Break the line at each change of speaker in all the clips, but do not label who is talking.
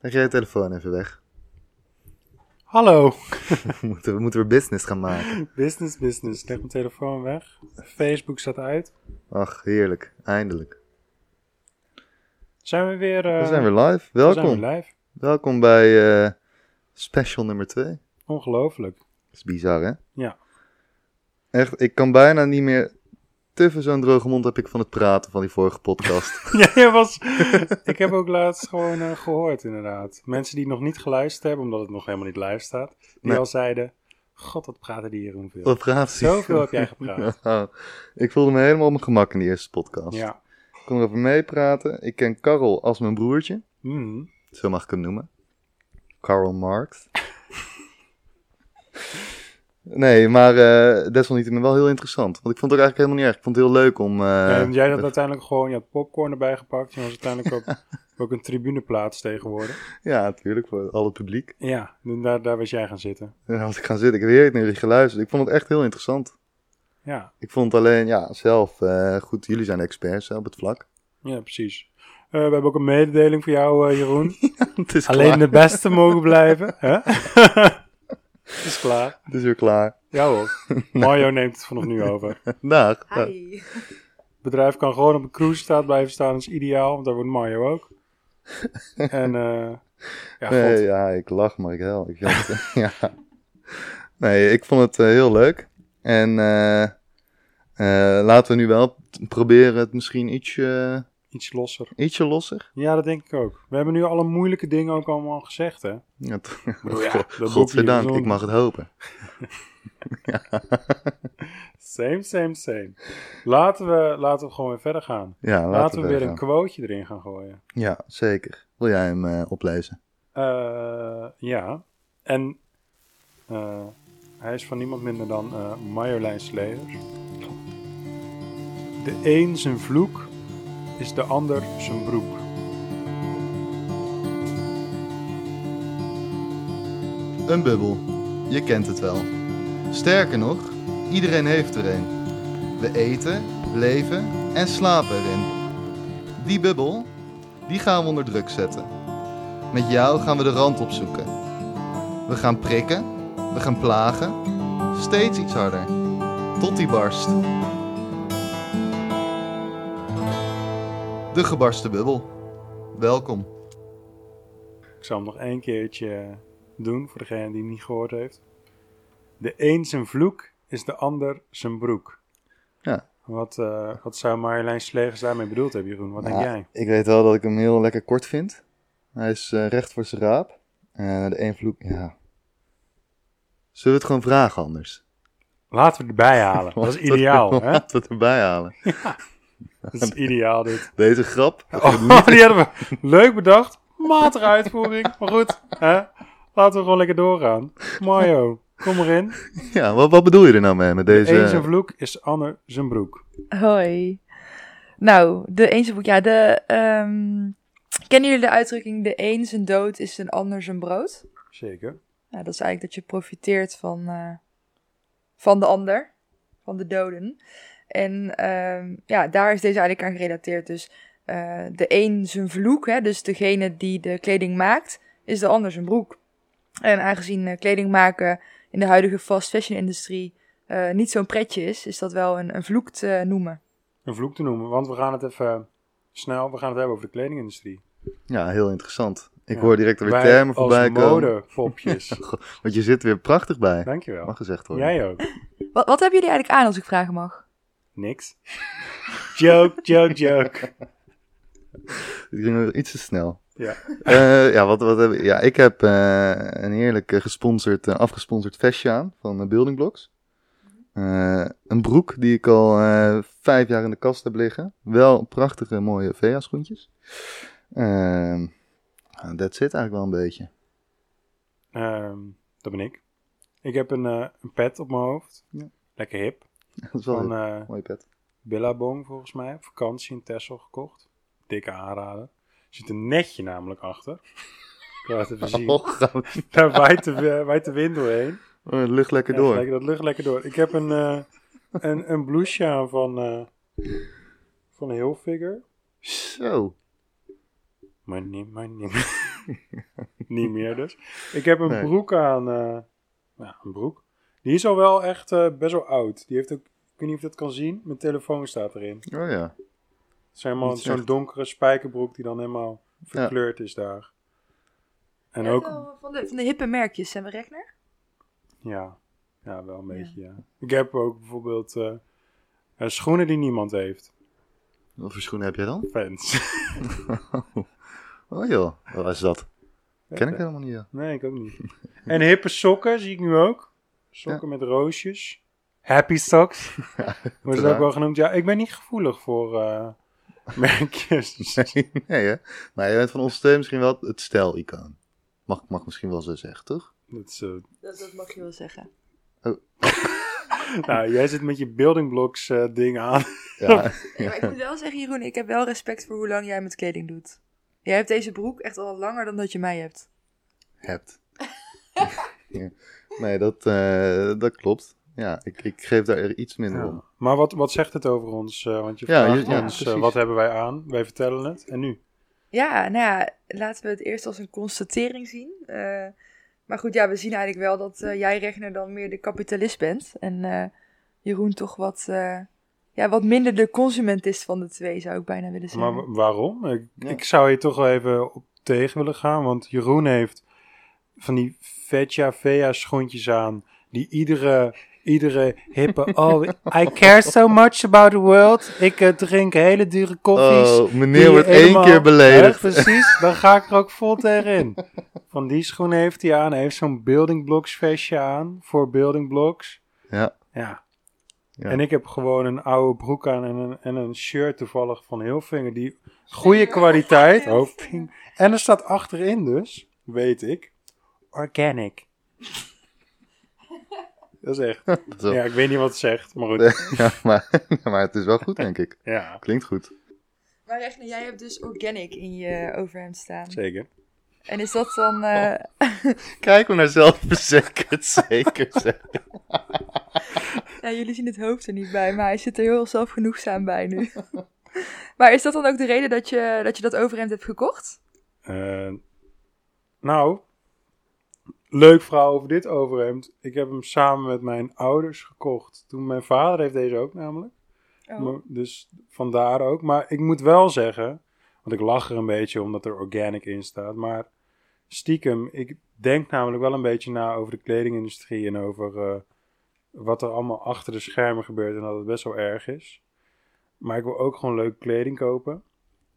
Leg jij je telefoon even weg.
Hallo.
moeten, we, moeten we business gaan maken.
Business, business. Ik leg mijn telefoon weg. Facebook staat uit.
Ach, heerlijk. Eindelijk.
Zijn we weer... eh,
We zijn weer live.
we zijn
Welkom.
weer live.
Welkom bij eh, special nummer 2. Dat
Ongelooflijk.
is bizar, hè?
Ja.
Echt, ik kan bijna niet meer... Tuffen zo'n droge mond heb ik van het praten van die vorige podcast.
Jij was... ik heb ook laatst gewoon eh, gehoord, inderdaad. Mensen die nog niet geluisterd hebben, omdat het nog helemaal niet live staat. Die
Nee.
al zeiden... God, wat praten die hier hoeveel.
Wat praat ze?
Zoveel heb jij gepraat.
Nou, ik voelde me helemaal op mijn gemak in die eerste podcast.
Ja.
Ik kon erover meepraten. Ik ken Karel als mijn broertje.
Mhm.
Zo mag ik hem noemen. Karl Marx. nee, maar eh desalniettemin wel heel interessant. Want ik vond het ook eigenlijk helemaal niet erg. Ik vond het heel leuk om... eh,
en jij had uiteindelijk gewoon... Je had popcorn erbij gepakt. Je was uiteindelijk ook, ook een tribuneplaats tegenwoordig.
Ja, natuurlijk, voor al het publiek.
Ja, daar, daar was jij gaan zitten.
En dan was ik gaan zitten. Ik heb heerlijk naar jullie geluisterd. Ik vond het echt heel interessant.
Ja.
Ik vond alleen, ja, zelf... eh, goed, jullie zijn experts hè, op het vlak.
Ja, precies. Eh, we hebben ook een mededeling voor jou, eh, Jeroen.
het is
Alleen
klaar.
de beste mogen blijven. Hè? Het is klaar.
Het is weer klaar.
Ja hoor. Mario neemt het vanaf nu over.
Dag. Dag.
Hi.
Het bedrijf kan gewoon op een cruise staat blijven staan. Dat is ideaal, want daar wordt Mario ook. En eh ja,
Nee,
god.
ja, ik lach, maar ik hel. Ik vind het- ja. Nee, ik vond het eh, heel leuk. En eh, eh, laten we nu wel t- proberen het misschien ietsje,
iets losser.
ietsje losser.
Ja, dat denk ik ook. We hebben nu alle moeilijke dingen ook allemaal gezegd, hè?
Ja, t-
bedoel, ja, dat boekje
Godzijdank,
is on-
ik mag het hopen.
Same, same, same. Laten we, laten we gewoon weer verder gaan.
Ja, laten,
Laten, we weer
gaan.
een quoteje erin gaan gooien.
Ja, zeker. Wil jij hem eh, oplezen?
Eh, ja. En eh, hij is van niemand minder dan eh Marjolein Slayers. De een zijn vloek is de ander zijn broek.
Een bubbel. Je kent het wel. Sterker nog, iedereen heeft er een. We eten, leven en slapen erin. Die bubbel, die gaan we onder druk zetten. Met jou gaan we de rand opzoeken. We gaan prikken, we gaan plagen, steeds iets harder. Tot die barst. De gebarsten bubbel. Welkom.
Ik zal hem nog één keertje doen voor degene die hem niet gehoord heeft. De een zijn vloek is de ander zijn broek.
Ja.
Wat, eh, wat zou Marjolein Slegers daarmee bedoeld hebben, Jeroen? Wat denk
Nou,
jij?
Ik weet wel dat ik hem heel lekker kort vind. Hij is eh, recht voor zijn raap. Eh, de één vloek, ja. Zullen we het gewoon vragen anders?
Laten we het erbij halen. Dat is
Laten we-
ideaal, hè?
Laten we het erbij halen.
Dat is ideaal, dit.
Deze grap.
Oh, die hadden we leuk bedacht. Matige uitvoering. Maar goed, hè? laten we gewoon lekker doorgaan. Mario, kom erin.
Ja, wat, wat bedoel je er nou mee met deze?
Eén zijn vloek is ander zijn broek.
Hoi. Nou, de eenzaamheid. Ja, de. ehm, kennen jullie de uitdrukking: de een zijn dood is een ander zijn brood?
Zeker.
Nou, dat is eigenlijk dat je profiteert van, eh, van de ander, van de doden. En ehm, ja, daar is deze eigenlijk aan gerelateerd. Dus eh, de een zijn vloek, hè, dus degene die de kleding maakt, is de ander zijn broek. En aangezien eh, kleding maken in de huidige fast fashion industrie eh, niet zo'n pretje is, is dat wel een, een vloek te eh, noemen.
Een vloek te noemen, want we gaan het even eh, snel, we gaan het hebben over de kledingindustrie.
Ja, heel interessant. Ik
Ja.
hoor direct weer
Wij
termen voorbij
als
komen.
modepopjes.
Want je zit weer prachtig bij.
Dankjewel.
Mag gezegd worden.
Jij ook.
Wat, wat hebben jullie eigenlijk aan als ik vragen mag?
Niks. Joke, joke, joke.
Ik ging nog iets te snel.
Ja.
Eh, ja, wat, wat heb ik? ja, ik heb eh, een heerlijk eh, gesponsord, eh, afgesponsord vestje aan van eh, Building Blocks. Eh, een broek die ik al eh, vijf jaar in de kast heb liggen. Wel prachtige, mooie VEA-schoentjes. Ehm dat zit eigenlijk wel een beetje.
Ehm, dat ben ik. Ik heb een, eh, een pet op mijn hoofd.
Ja.
Lekker hip.
Dat is wel
Van
een
eh,
mooie pet.
Billabong volgens mij. Op vakantie in Texel gekocht. Dikke aanrader. Er zit een netje namelijk achter. Ik laat het even zien.
Oh, goud.
Daar waait de, eh, waait de wind doorheen.
Oh, het lucht lekker
Ja,
door.
gelijk, dat lucht lekker door. Ik heb een, eh een, een blouse aan van, eh van Hilfiger.
Zo.
Money, money. niet meer dus. Ik heb een
Nee.
broek aan. eh, nou, een broek. Die is al wel echt eh, best wel oud. Die heeft ook, ik weet niet of je dat kan zien, mijn telefoon staat erin.
Oh ja.
Het is helemaal
Niet
zo'n
echt.
donkere spijkerbroek die dan helemaal verkleurd is daar. En ook,
Van de, van de hippe merkjes, Sam Regner.
ja, ja, wel een
Ja.
beetje, ja. Ik heb ook bijvoorbeeld eh, eh, schoenen die niemand heeft.
Wat voor schoenen heb jij dan?
Fans.
Oh joh, wat is dat? Ken ik helemaal niet. Ja.
Nee, ik ook niet. En hippe sokken zie ik nu ook. Sokken met roosjes. Happy socks. Wordt het ook
uiteraard.
wel genoemd. Ja, ik ben niet gevoelig voor eh, merkjes.
Nee, nee hè? Maar jij bent van ons twee misschien wel het stijl-icoon. Mag, mag misschien wel zo zeggen, toch?
Dat is, eh,
Dat, dat mag je wel zeggen.
nou, jij zit met je building blocks eh, ding aan.
Ja.
Nee, maar ik moet wel zeggen, Jeroen, ik heb wel respect voor hoe lang jij met kleding doet. Jij hebt deze broek echt al langer dan dat je mij hebt.
hebt. Ja. Nee, dat, eh, dat klopt. Ja, ik, ik geef daar er iets minder om.
Ja. Maar wat, wat zegt het over ons? eh, want je
Ja,
vraagt
ja, ja,
ons, eh,
precies.
wat hebben wij aan? Wij vertellen het. En nu?
Ja, nou ja, laten we het eerst als een constatering zien. Eh, maar goed, ja, we zien eigenlijk wel dat eh, jij, Regner, dan meer de kapitalist bent. En eh, Jeroen toch wat, eh, ja, wat minder de consument is van de twee, zou ik bijna willen
Maar
zeggen.
wa- waarom? Ik,
Ja.
ik zou je toch wel even op tegen willen gaan. Want Jeroen heeft van die Vetja Vea schoentjes aan. Die iedere, iedere hippe... Oh, I care so much about the world. Ik eh, drink hele dure koffies.
Oh, meneer
die
wordt één
helemaal-
keer
Hè,
beledigd.
precies, dan ga ik er ook vol tegenin. Van die schoen heeft hij aan. Hij heeft zo'n building blocks vestje aan. Voor building blocks.
Ja,
Ja.
Ja.
En ik heb gewoon een oude broek aan en een, en een shirt toevallig van Hilfinger. Die goede kwaliteit. Hoofdpijn. En er staat achterin dus, weet ik, organic. Dat is echt.
dat is wel-
Ja, ik weet niet wat het zegt, maar goed.
ja, maar, maar het is wel goed, denk ik.
Ja,
Klinkt goed.
Maar Regner, jij hebt dus organic in je overhemd staan.
zeker. Oh.
En is dat dan... eh,
Kijk hoe naar zelfverzekerd, zeker. zeg.
Ja, jullie zien het hoofd er niet bij, maar hij zit er heel zelfgenoegzaam bij nu. maar is dat dan ook de reden dat je dat, je dat overhemd hebt gekocht?
Eh, nou, leuk verhaal over dit overhemd. Ik heb hem samen met mijn ouders gekocht. Toen mijn vader heeft deze ook namelijk. Maar- dus vandaar ook. Maar ik moet wel zeggen, want ik lach er een beetje omdat er organic in staat. Maar stiekem, ik denk namelijk wel een beetje na over de kledingindustrie en over eh, wat er allemaal achter de schermen gebeurt en dat het best wel erg is. Maar ik wil ook gewoon leuk kleding kopen.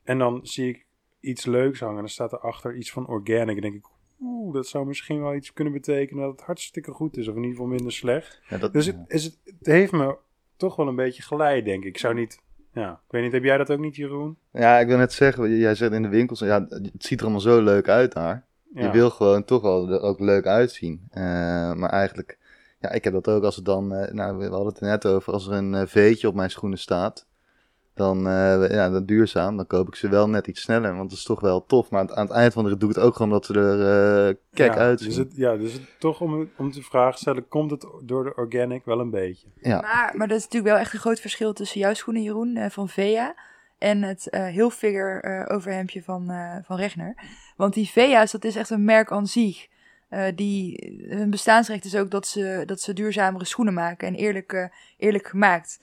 En dan zie ik iets leuks hangen en dan staat erachter iets van organic. En denk ik, oeh, dat zou misschien wel iets kunnen betekenen dat het hartstikke goed is of in ieder geval minder slecht.
Ja, dat,
Dus het, is het, het heeft me toch wel een beetje geleid, denk ik. Ik zou niet... Ja, ik weet niet, heb jij dat ook niet, Jeroen?
ja, ik wil net zeggen, jij zegt in de winkels, ja, het ziet er allemaal zo leuk uit daar.
Ja.
Je wil gewoon toch wel er ook leuk uitzien. Eh, maar eigenlijk, ja, ik heb dat ook als het dan, eh, nou, we hadden het er net over, als er een eh, veetje op mijn schoenen staat, dan, eh, ja, dat duurzaam, dan koop ik ze wel net iets sneller, want dat is toch wel tof. Maar aan het, aan het eind van de rit doe ik het ook gewoon omdat ze er eh kek
ja,
uitzien.
Dus het, ja, dus het, toch om, om te vragen stellen, komt het door de organic wel een beetje?
Ja.
Maar, maar dat is natuurlijk wel echt een groot verschil tussen jouw schoenen, Jeroen, eh, van Vea... en het eh heel overhemdje van, eh, van Regner. Want die Vea's, dat is echt een merk aan zich. Eh, die, hun bestaansrecht is ook dat ze, dat ze duurzamere schoenen maken en eerlijk, eh, eerlijk gemaakt.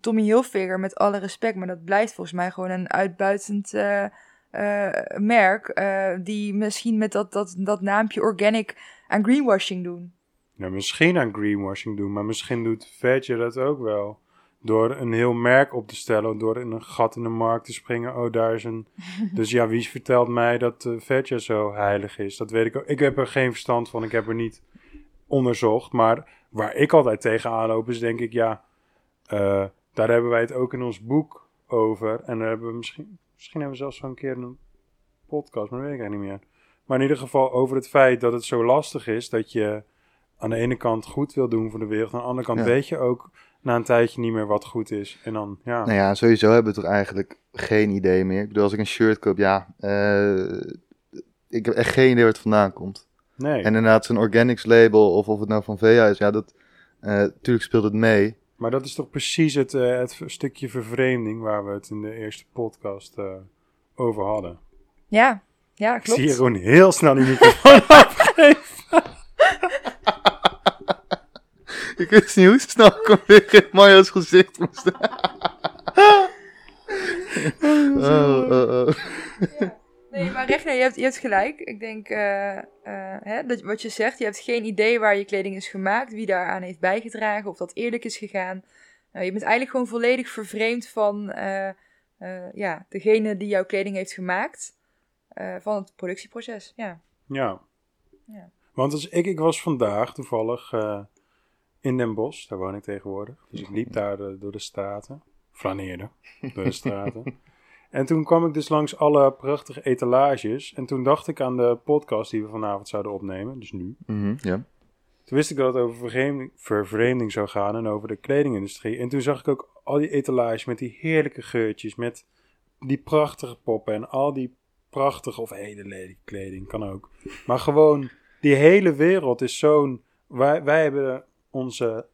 Tommy Hilfiger, met alle respect, maar dat blijft volgens mij gewoon een uitbuitend eh, eh, merk. eh, die misschien met dat, dat, dat naampje organic aan greenwashing doen.
Nou, misschien aan greenwashing doen, maar misschien doet Vetje dat ook wel. Door een heel merk op te stellen, door in een gat in de markt te springen. Oh, daar is een... Dus ja, wie vertelt mij dat eh Vetje zo heilig is? Dat weet ik ook. Ik heb er geen verstand van, ik heb er niet onderzocht. Maar waar ik altijd tegenaan loop is denk ik, ja... eh, daar hebben wij het ook in ons boek over. En daar hebben we misschien... Misschien hebben we zelfs zo'n keer een podcast, maar dat weet ik eigenlijk niet meer. Maar in ieder geval over het feit dat het zo lastig is dat je aan de ene kant goed wil doen voor de wereld. Aan de andere kant
Ja.
weet je ook na een tijdje niet meer wat goed is. En dan, ja.
Nou ja, sowieso hebben we toch eigenlijk geen idee meer. Ik bedoel, als ik een shirt koop, ja, eh, ik heb echt geen idee waar het vandaan komt.
Nee.
En inderdaad, zo'n organics label of of het nou van Vea is, ja, dat eh tuurlijk speelt het mee.
Maar dat is toch precies het, eh, het stukje vervreemding waar we het in de eerste podcast eh, over hadden.
Ja, Ja,
Ik zie
klopt.
Jeroen heel snel die microfoon afgeven.
Ik wist niet hoe snel ik hem weer in Mario's gezicht moest. Oh, oh, oh.
Nee, maar Regner, je hebt, je hebt gelijk. Ik denk, eh, eh, hè, dat, wat je zegt, je hebt geen idee waar je kleding is gemaakt, wie daaraan heeft bijgedragen, of dat eerlijk is gegaan. Nou, je bent eigenlijk gewoon volledig vervreemd van eh, eh, ja, degene die jouw kleding heeft gemaakt, eh, van het productieproces. Ja.
Ja.
Ja.
Want als ik, ik was vandaag toevallig eh, in Den Bosch, daar woon ik tegenwoordig. Dus ik liep daar eh, door de straten, flaneerde door de straten. En toen kwam ik dus langs alle prachtige etalages. En toen dacht ik aan de podcast die we vanavond zouden opnemen, dus nu.
Mhm, ja.
Toen wist ik dat het over vervreemding, vervreemding zou gaan en over de kledingindustrie. En toen zag ik ook al die etalages met die heerlijke geurtjes, met die prachtige poppen en al die prachtige of hele lelijke kleding, kan ook. Maar gewoon, die hele wereld is zo'n... Wij, wij hebben onze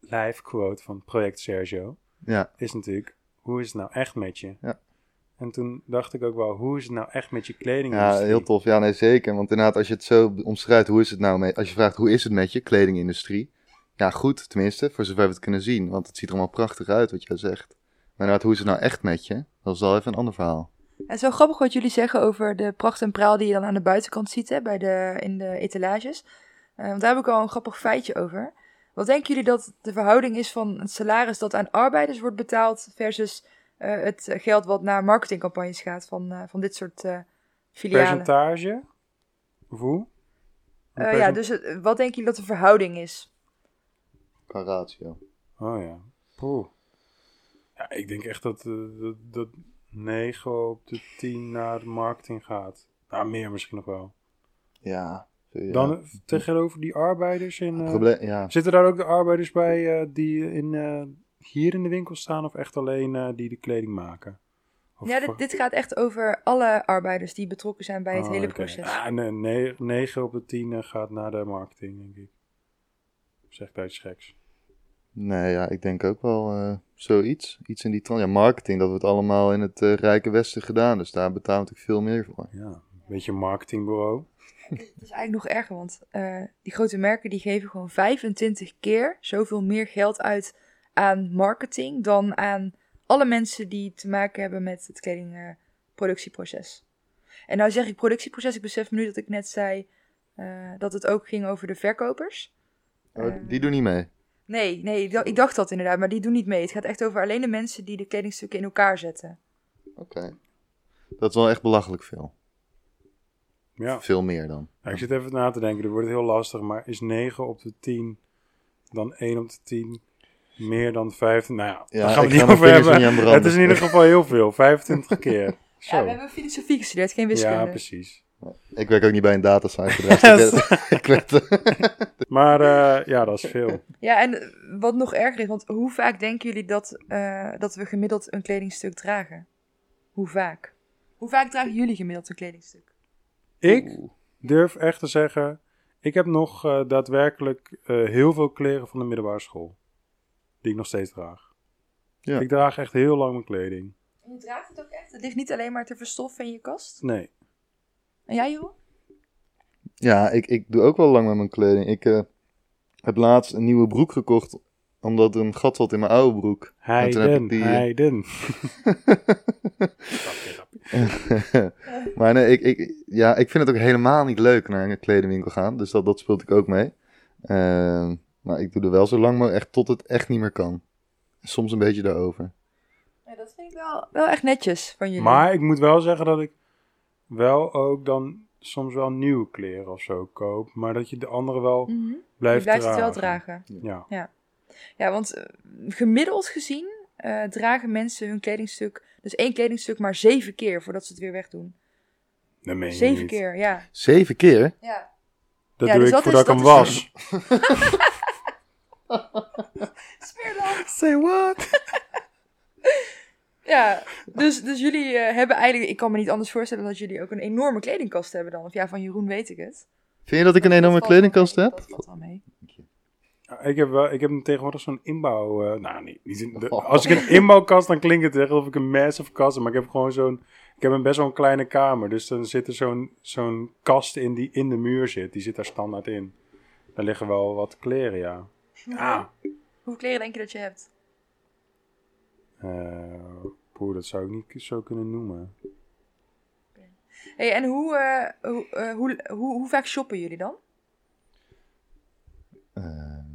live quote van Project Sergio,
Ja,
is natuurlijk, hoe is het nou echt met je?
Ja.
En toen dacht ik ook wel, hoe is het nou echt met je
ja,
kledingindustrie?
heel tof. Ja, nee, zeker. Want inderdaad, als je het zo omschrijft, hoe is het nou mee? Als je vraagt, hoe is het met je kledingindustrie? Ja, goed, tenminste, voor zover we het kunnen zien. Want het ziet er allemaal prachtig uit, wat jij zegt. Maar inderdaad, hoe is het nou echt met je? Dat is al even een ander verhaal.
En het is wel grappig wat jullie zeggen over de pracht en praal die je dan aan de buitenkant ziet hè, bij de, in de etalages. Eh, want daar heb ik al een grappig feitje over. Wat denken jullie dat de verhouding is van het salaris dat aan arbeiders wordt betaald versus eh, het geld wat naar marketingcampagnes gaat van, eh, van dit soort eh, filialen?
Percentage? Of hoe? Een
Eh, ja,
percent-
dus het- wat denken jullie dat de verhouding is?
Qua ratio.
Oh ja. Poeh. Ja, ik denk echt dat, eh, dat, dat 9 op de 10 naar de marketing gaat. Nou, meer misschien nog wel.
Ja.
Dan eh, tegenover die arbeiders in... eh,
Probleem, ja.
zitten daar ook de arbeiders bij eh, die in, eh, hier in de winkel staan of echt alleen eh, die de kleding maken? Of
Ja, dit,
voor-
dit gaat echt over alle arbeiders die betrokken zijn bij het
Oh,
hele
oké.
proces.
Ah, nee, ne- 9 op de 10 eh, gaat naar de marketing, denk ik. Zeg ik daar iets geks.
Nee, ja, ik denk ook wel eh, zoiets. Iets in die trant. Ja, marketing, dat wordt allemaal in het eh, rijke westen gedaan. Dus daar betaalt natuurlijk veel meer voor.
Ja, een beetje een marketingbureau.
Het is eigenlijk nog erger, want eh, die grote merken die geven gewoon 25 keer zoveel meer geld uit aan marketing dan aan alle mensen die te maken hebben met het kledingproductieproces. en nou zeg ik productieproces, ik besef me nu dat ik net zei eh, dat het ook ging over de verkopers.
Oh,
Eh.
die doen niet mee.
Nee, nee, ik dacht- ik dacht dat inderdaad, maar die doen niet mee. Het gaat echt over alleen de mensen die de kledingstukken in elkaar zetten.
Oké. Dat is wel echt belachelijk veel.
Ja.
Veel meer dan.
Ja, ik zit even na te denken, dat wordt heel lastig, maar is 9 op de 10 dan 1 op de 10 meer dan 15? Nou ja,
Ja,
daar gaan we
ik
het
ga
niet
mijn
over
vingers
hebben.
er niet aan branden.
het is in ieder geval heel veel, 25 keer. Zo.
Ja, we hebben filosofie gestudeerd, geen wiskunde.
Ja, precies.
Ik werk ook niet bij een data science bedrijf. dus ik weet- ik weet
Maar eh, ja, dat is veel.
Ja, en wat nog erger is, want hoe vaak denken jullie dat, eh, dat we gemiddeld een kledingstuk dragen? Hoe vaak? Hoe vaak dragen jullie gemiddeld een kledingstuk?
Ik durf echt te zeggen, ik heb nog eh, daadwerkelijk eh, heel veel kleren van de middelbare school. Die ik nog steeds draag.
Ja.
Ik draag echt heel lang mijn kleding.
En je draagt het ook echt? Het ligt niet alleen maar te verstoffen in je kast.
Nee.
En jij, Jeroen?
Ja, ik, ik doe ook wel lang met mijn kleding. Ik eh, heb laatst een nieuwe broek gekocht, omdat er een gat zat in mijn oude broek. En toen heb ik
Heiden,
die, eh,
heiden.
maar nee, ik, ik, ja, ik vind het ook helemaal niet leuk naar een kledingwinkel gaan. Dus dat, dat speelt ik ook mee. Ehm, maar ik doe er wel zo lang maar echt tot het echt niet meer kan. Soms een beetje daarover.
Ja, dat vind ik wel, wel echt netjes van jullie.
Maar ik moet wel zeggen dat ik wel ook dan soms wel nieuwe kleren of zo koop. Maar dat je de andere wel
Mhm. je
blijft,
blijft het
dragen.
wel dragen.
Ja.
Ja, want eh, gemiddeld gezien eh, dragen mensen hun kledingstuk, dus één kledingstuk, maar zeven keer voordat ze het weer wegdoen.
Dat meen je
Zeven
niet.
keer, ja.
Zeven keer?
ja.
Dat
Ja,
doe
dus
ik
dat is-
voordat ik hem
dat
was.
is- Smeerland!
Say what?
Ja, dus, dus jullie eh, hebben eigenlijk... Ik kan me niet anders voorstellen dat jullie ook een enorme kledingkast hebben dan. Of ja, van Jeroen weet ik het.
Vind je dat ik een
Dat
enorme
valt wel mee,
kledingkast heb?
Dat valt wel mee.
Ja, ik, heb wel, ik heb tegenwoordig zo'n inbouw... eh, nou, niet, niet in- de-
Oh.
als ik een inbouwkast, dan klinkt het echt of ik een massive kast heb. Maar ik heb gewoon zo'n... Ik heb een best wel een kleine kamer. Dus dan zit er zo'n zo'n kast in die in de muur zit. Die zit daar standaard in. Daar liggen wel wat kleren, ja. Ah.
Hoeveel kleren denk je dat je hebt?
Eh, poeh, dat zou ik niet zo kunnen noemen.
Hey, en hoe, eh, hoe, eh, hoe, hoe, hoe vaak shoppen jullie dan?
Ehm,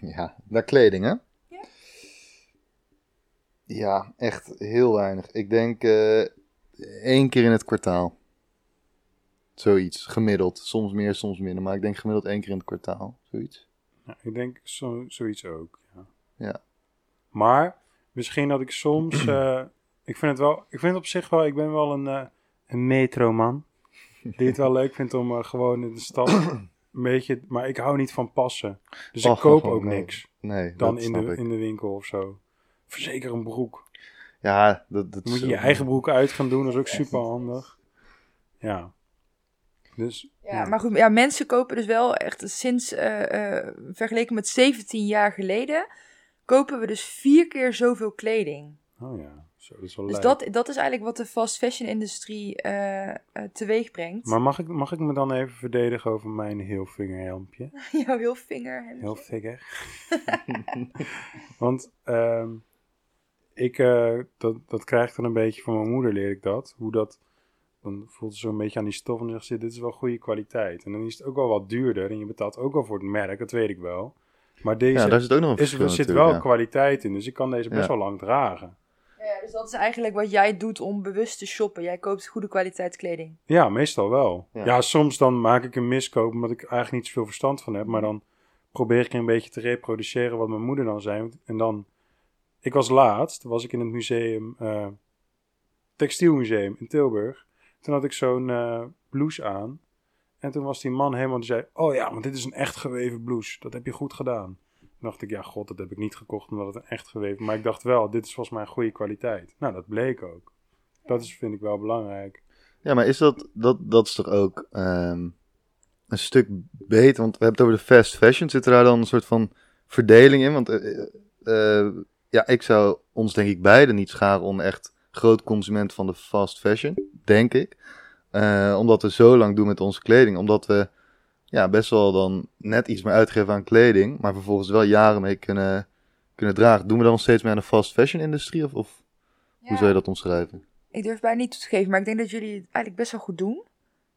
ja, naar kleding, hè?
Ja.
Ja, echt heel weinig. Ik denk eh, één keer in het kwartaal. Zoiets, gemiddeld. Soms meer, soms minder. Maar ik denk gemiddeld één keer in het kwartaal. Zoiets.
Ja, ik denk zo, zoiets ook. Ja.
Ja.
Maar misschien dat ik soms. eh, ik vind het wel. Ik vind het op zich wel. Ik ben wel een, eh, een metroman. Die het wel leuk vindt om eh, gewoon in de stad. Een beetje, maar ik hou niet van passen. Dus ik
Och,
koop
och,
ook
nee.
niks.
Nee,
Dan
dat
in
snap
de,
ik.
in de winkel of zo. Verzeker een broek.
Ja, dat, dat
Dan moet je
is
je
ook-
eigen broek uit gaan doen. Dat is ook super handig. Ja. Dus.
Ja, maar goed, ja, mensen kopen dus wel echt sinds, eh, eh, vergeleken met 17 jaar geleden, kopen we dus vier keer zoveel kleding.
Oh ja. Zo, dat is wel
Dus
leuk.
dat, dat is eigenlijk wat de fast fashion industrie eh eh, teweeg brengt.
Maar mag ik, mag ik me dan even verdedigen over mijn heel vingerhelmpje?
Jouw heel vinger. Henk.
Heel figger. Want ehm, ik, eh, dat, dat krijg ik dan een beetje van mijn moeder, leer ik dat. Hoe dat, dan voelt ze zo'n beetje aan die stof en dan zegt ze, dit is wel goede kwaliteit. En dan is het ook wel wat duurder en je betaalt ook wel voor het merk, dat weet ik wel. Maar deze,
Ja, daar zit ook nog een
is,
verschil
er zit wel
natuurlijk, ja. kwaliteit
kwaliteit in, dus ik kan deze best
Ja.
wel lang dragen.
Ja, dus dat is eigenlijk wat jij doet om bewust te shoppen. Jij koopt goede kwaliteit kleding.
Ja, meestal wel.
Ja.
Ja. soms dan maak ik een miskoop omdat ik eigenlijk niet zoveel verstand van heb. Maar dan probeer ik een beetje te reproduceren wat mijn moeder dan zei. En dan, ik was laatst, was ik in het museum, eh, textielmuseum in Tilburg. Toen had ik zo'n eh, blouse aan. En toen was die man helemaal, die zei, oh ja, want dit is een echt geweven blouse. Dat heb je goed gedaan. Toen dacht ik, ja god, dat heb ik niet gekocht omdat het een echt geweven. Maar ik dacht wel, dit is volgens mij een goede kwaliteit. Nou, dat bleek ook. Dat is, vind ik wel belangrijk.
Ja, maar is dat, dat, dat is toch ook ehm, een stuk beter? Want we hebben het over de fast fashion. Zit er daar dan een soort van verdeling in? Want eh, eh, eh, ja, ik zou ons denk ik beiden niet scharen om echt groot consument van de fast fashion, denk ik. Eh, omdat we zo lang doen met onze kleding. Omdat we ja, best wel dan net iets meer uitgeven aan kleding, maar vervolgens wel jaren mee kunnen, kunnen dragen. Doen we dan nog steeds mee aan de fast fashion industrie? Of, of hoe zou je dat omschrijven?
Ik durf bijna niet toe te geven, maar ik denk dat jullie het eigenlijk best wel goed doen.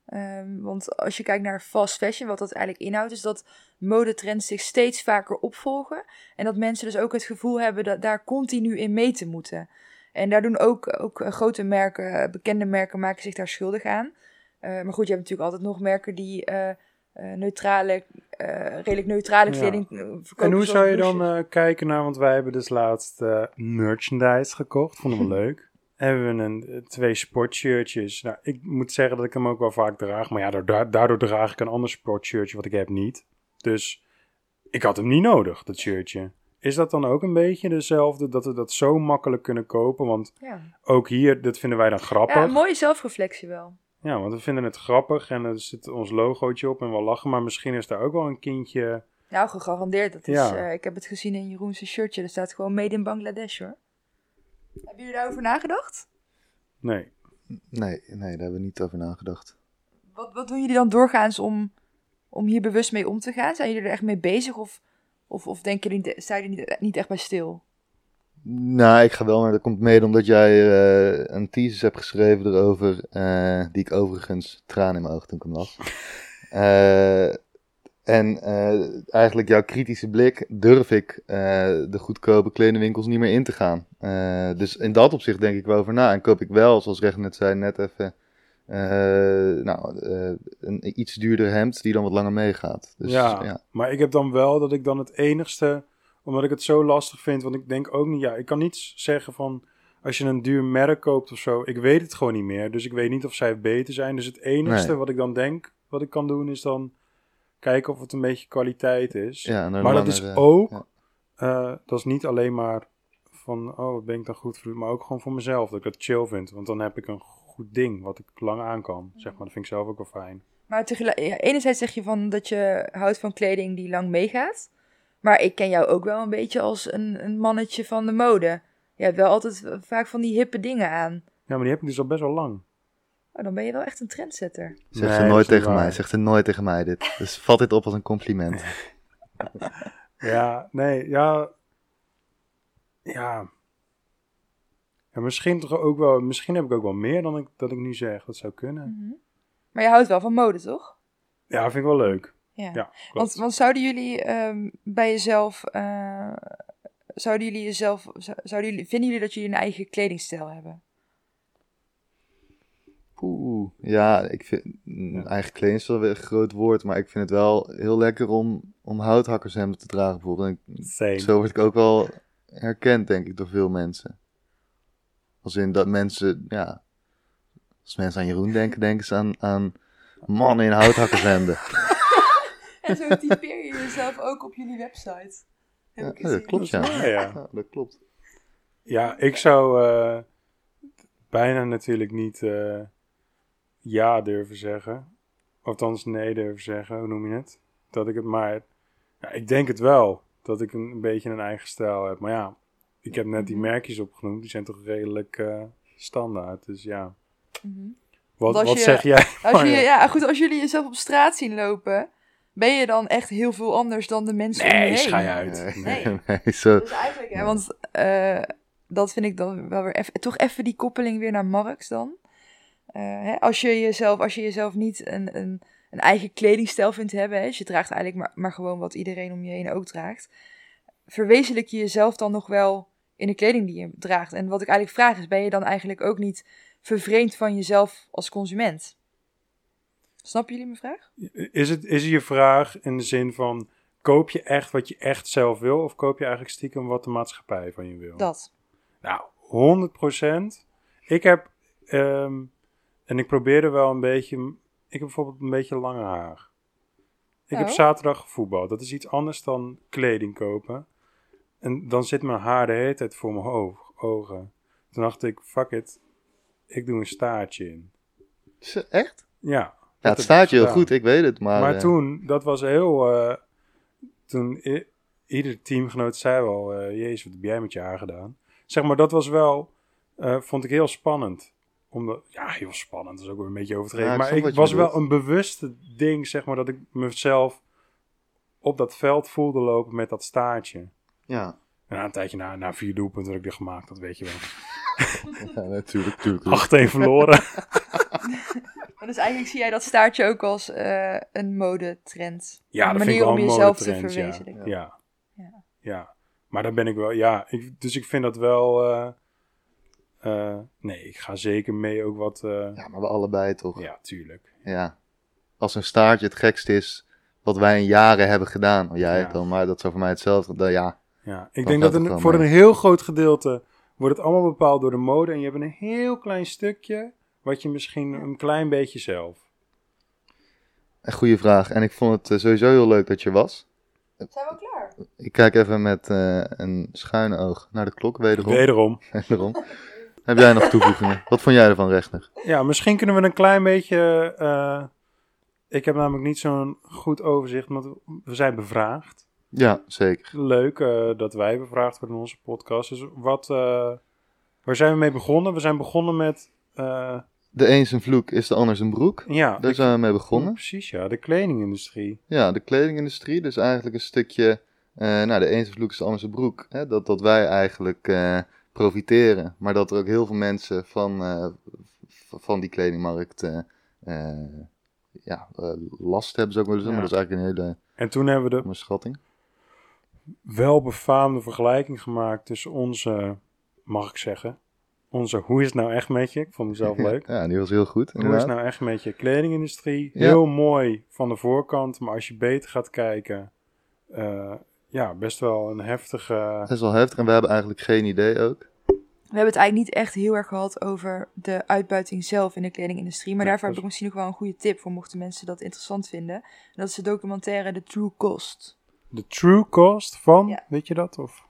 Ehm, want als je kijkt naar fast fashion, wat dat eigenlijk inhoudt, is dat modetrends zich steeds vaker opvolgen. En dat mensen dus ook het gevoel hebben dat daar continu in mee te moeten. En daar doen ook, ook eh, grote merken, eh, bekende merken, maken zich daar schuldig aan. Eh, maar goed, je hebt natuurlijk altijd nog merken die eh, eh, neutrale, eh, redelijk neutrale
Ja.
kleding eh, verkopen.
En hoe
zoals
zou je dan
douches.
eh, kijken naar, want wij hebben dus laatst eh, merchandise gekocht, vonden we leuk. Hebben we een, eh, twee sportshirtjes. Nou, ik moet zeggen dat ik hem ook wel vaak draag, maar ja, daardoor, daardoor draag ik een ander sportshirtje wat ik heb niet. Dus ik had hem niet nodig, dat shirtje. Is dat dan ook een beetje dezelfde, dat we dat zo makkelijk kunnen kopen? Want
Ja.
ook hier, dat vinden wij dan grappig.
Ja, een mooie zelfreflectie wel.
Ja, want we vinden het grappig en er zit ons logootje op en we lachen. Maar misschien is daar ook wel een kindje...
Nou, gegarandeerd. Dat is,
Ja.
eh, ik heb het gezien in Jeroen's shirtje. Er staat gewoon made in Bangladesh hoor. Hebben jullie daarover nagedacht?
Nee,
Nee, nee, daar hebben we niet over nagedacht.
Wat, wat doen jullie dan doorgaans om, om hier bewust mee om te gaan? Zijn jullie er echt mee bezig of, of, of denken jullie, niet- sta je er niet, niet echt bij stil?
Nou, ik ga wel, maar dat komt mede omdat jij eh, een thesis hebt geschreven erover, eh, die ik overigens traan in mijn ogen toen ik hem las. Eh, en eh, eigenlijk jouw kritische blik durf ik eh, de goedkope kledingwinkels niet meer in te gaan. Eh, dus in dat opzicht denk ik wel over na en koop ik wel, zoals Reg net zei, net even eh, nou, eh, een iets duurder hemd die dan wat langer meegaat. Dus,
ja,
ja.
maar ik heb dan wel dat ik dan het enigste, omdat ik het zo lastig vind, want ik denk ook niet, ja, ik kan niet zeggen van als je een duur merk koopt of zo, ik weet het gewoon niet meer, dus ik weet niet of zij beter zijn. Dus het enigste
Nee.
wat ik dan denk, wat ik kan doen, is dan kijken of het een beetje kwaliteit is.
Ja, en een
maar dat is
langere-
ook,
ja.
eh, dat is niet alleen maar van, oh, wat ben ik dan goed voor, maar ook gewoon voor mezelf, dat ik dat chill vind, want dan heb ik een goed ding wat ik lang aan kan, zeg maar. Dat vind ik zelf ook wel fijn.
Maar tegelijk, ja, enerzijds zeg je van dat je houdt van kleding die lang meegaat. Maar ik ken jou ook wel een beetje als een, een mannetje van de mode. Je hebt wel altijd vaak van die hippe dingen aan.
Ja, maar die heb ik dus al best wel lang.
Oh, dan ben je wel echt een trendsetter.
Zegt ze
Nee, dat is
nooit
niet
tegen
waar.
mij. Zegt ze nooit tegen mij dit. Dus vat dit op als een compliment.
Ja, nee, ja. Ja. ja misschien, toch ook wel, misschien heb ik ook wel meer dan ik, dat ik nu zeg. Dat zou kunnen.
Mhm. Maar je houdt wel van mode, toch?
Ja, vind ik wel leuk.
Ja.
Ja,
want,
klopt.
want zouden jullie ehm, bij jezelf... eh, zouden jullie jezelf... zou- Zouden jullie, vinden jullie dat jullie een eigen kledingstijl hebben?
Poeh. Ja, ik vind mm, eigen kleding is wel weer een groot woord, maar ik vind het wel heel lekker om, om houthakkershemden te dragen bijvoorbeeld. En ik-
Same.
zo word ik ook wel herkend, denk ik, door veel mensen. Als in dat mensen, ja, als mensen aan Jeroen denken, denken ze aan, aan mannen in houthakkershemden.
En zo typeer je jezelf ook op jullie website.
ja, dat klopt, ja.
Dat is waar, ja.
Ja, Dat klopt.
Ja, ik zou eh, bijna natuurlijk niet eh, ja durven zeggen. Althans, nee durven zeggen, hoe noem je het? Dat ik het maar. Ja, ik denk het wel. Dat ik een, een beetje een eigen stijl heb. Maar ja, ik heb net die
Mhm.
merkjes opgenoemd. Die zijn toch redelijk eh, standaard. Dus ja.
Mhm.
Wat,
Want als
wat
je-
zeg jij?
Als
Marja?
jullie, ja, goed, als jullie jezelf op straat zien lopen, ben je dan echt heel veel anders dan de mensen om je
Nee,
heen?
schij uit.
Nee,
Nee.
nee, zo.
Dus eigenlijk, hè, want eh, dat vind ik dan wel weer even, toch even die koppeling weer naar Marx dan. Eh, hè, als, je jezelf, als je jezelf niet een, een, een eigen kledingstijl vindt hebben, hè, dus je draagt eigenlijk maar, maar gewoon wat iedereen om je heen ook draagt, verwezenlijk je jezelf dan nog wel in de kleding die je draagt. En wat ik eigenlijk vraag is, ben je dan eigenlijk ook niet vervreemd van jezelf als consument? Snappen jullie mijn vraag?
Is, het, is je vraag in de zin van: koop je echt wat je echt zelf wil? Of koop je eigenlijk stiekem wat de maatschappij van je wil?
Dat.
Nou, 100%. Ik heb, ehm, en ik probeerde wel een beetje, ik heb bijvoorbeeld een beetje lange haar. Ik heb
Oh.
zaterdag gevoetbald. Dat is iets anders dan kleding kopen. En dan zit mijn haar de hele tijd voor mijn oog- ogen. Toen dacht ik, fuck it, ik doe een staartje in.
Zo, Echt?
Ja.
Ja, het
dat heb
staat
ik
je heel
gedaan.
goed, ik weet het, maar...
Maar
eh,
toen, dat was heel. eh, toen i- ieder teamgenoot zei wel: eh, Jezus, wat heb jij met je haar gedaan? Zeg maar, dat was wel. eh, vond ik heel spannend. Omdat, ja, heel spannend. Dat is ook wel een beetje overdreven.
Ja, ik
maar
snap
ik
wat je
was wel
bedoelt.
een bewuste ding, zeg maar, dat ik mezelf op dat veld voelde lopen met dat staartje.
Ja,
En na een tijdje na, na vier doelpunten had ik er gemaakt, dat weet je wel.
ja natuurlijk, natuurlijk.
8-1 verloren.
Maar dus eigenlijk zie jij dat staartje ook als eh, een modetrend.
Ja,
een
dat vind
manier
ik wel
om
een
jezelf te
modetrend, ja.
verwezenlijken.
Ja. Ja.
Ja.
Maar dan ben ik wel, ja. Ik, dus ik vind dat wel. eh, eh, nee, ik ga zeker mee ook wat. eh, ja.
Ja, maar we allebei toch. Ja.
tuurlijk.
Als een staartje het gekste is wat wij in jaren hebben gedaan. Oh, jij
Ja.
dan, maar dat zou voor mij hetzelfde. dan- ja,
Ja. Ik
Dat
denk
gaat
dat
ook
een,
wel
voor
mee.
een heel groot gedeelte wordt het allemaal bepaald door de mode. En je hebt een heel klein stukje wat je misschien een klein beetje zelf.
een goede vraag. En ik vond het eh, sowieso heel leuk dat je was.
Zijn we al klaar?
Ik kijk even met eh, een schuine oog naar de klok, wederom.
Wederom.
wederom. Heb jij nog toevoegingen? Wat vond jij ervan, rechter?
Ja, misschien kunnen we een klein beetje. eh, ik heb namelijk niet zo'n goed overzicht, want we zijn bevraagd.
Ja, zeker.
Leuk eh, dat wij bevraagd worden in onze podcast. Dus wat, eh, waar zijn we mee begonnen? We zijn begonnen met. eh,
De een zijn vloek is de ander zijn broek.
ja,
Daar zijn we mee begonnen.
precies, ja. De kledingindustrie.
Ja, de kledingindustrie. Dus eigenlijk een stukje, eh, nou, de ene vloek is de andere zijn broek. Hè? Dat, dat wij eigenlijk eh, profiteren. Maar dat er ook heel veel mensen van, eh, v- van die kledingmarkt eh, eh, ja, eh, last hebben, zou ik willen zeggen.
Ja.
Maar dat is eigenlijk een hele
En toen hebben we de
onderschatting.
welbefaamde vergelijking gemaakt tussen onze, mag ik zeggen, onze hoe is het nou echt met je? Ik vond mezelf leuk.
Ja, die was heel goed.
Hoe is
Inderdaad.
het nou echt met je? Kledingindustrie.
Ja.
Heel mooi van de voorkant, maar als je beter gaat kijken, eh, ja, best wel een heftige.
Dat is wel heftig en we hebben eigenlijk geen idee ook.
We hebben het eigenlijk niet echt heel erg gehad over de uitbuiting zelf in de kledingindustrie. Maar
Nee,
daarvoor
dat
heb ik misschien nog wel een goede tip voor mochten mensen dat interessant vinden. En dat is de documentaire The True Cost.
De true cost van,
Ja.
weet je dat? Of?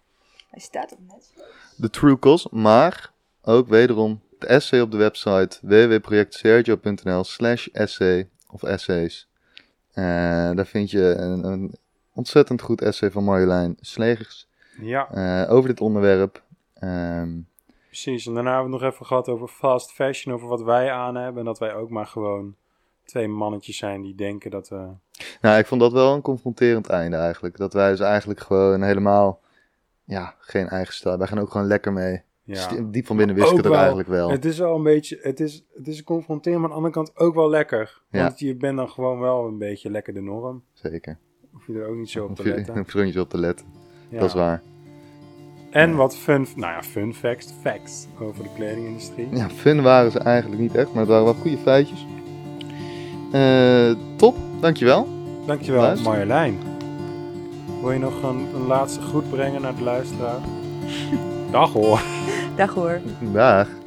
Hij staat op net.
De true cost, maar ook wederom de essay op de website www.projectsergio.nl slash essay of essays. Eh, daar vind je een, een Ontzettend goed essay van Marjolein Slegers
Ja,
eh, over dit onderwerp. Ehm,
precies. En daarna hebben we het nog even gehad over fast fashion, over wat wij aan hebben. En dat wij ook maar gewoon twee mannetjes zijn die denken dat eh, we...
nou, ik vond dat wel een confronterend einde eigenlijk. Dat wij dus eigenlijk gewoon helemaal, ja, geen eigen stijl. Wij gaan ook gewoon lekker mee.
Ja.
St- Diep van binnen wist ik
Ook
het ook
wel.
eigenlijk wel.
Het is wel een beetje, het is, het is confronterend, maar aan de andere kant ook wel lekker.
Ja.
Want je bent dan gewoon wel een beetje lekker de norm.
Zeker.
Hoef je er ook niet zo op
Hoef
te
je- hoef je
letten.
er niet op te letten.
Ja.
Dat is waar.
En wat fun, nou ja, fun facts, facts over de kledingindustrie.
Ja, fun waren ze eigenlijk niet echt, maar het waren wel goede feitjes. Eh, top, dankjewel.
Dankjewel
Luister.
Marjolein. Wil je nog een, een laatste groet brengen naar de luisteraar? Dag hoor.
Dag hoor.
Dag.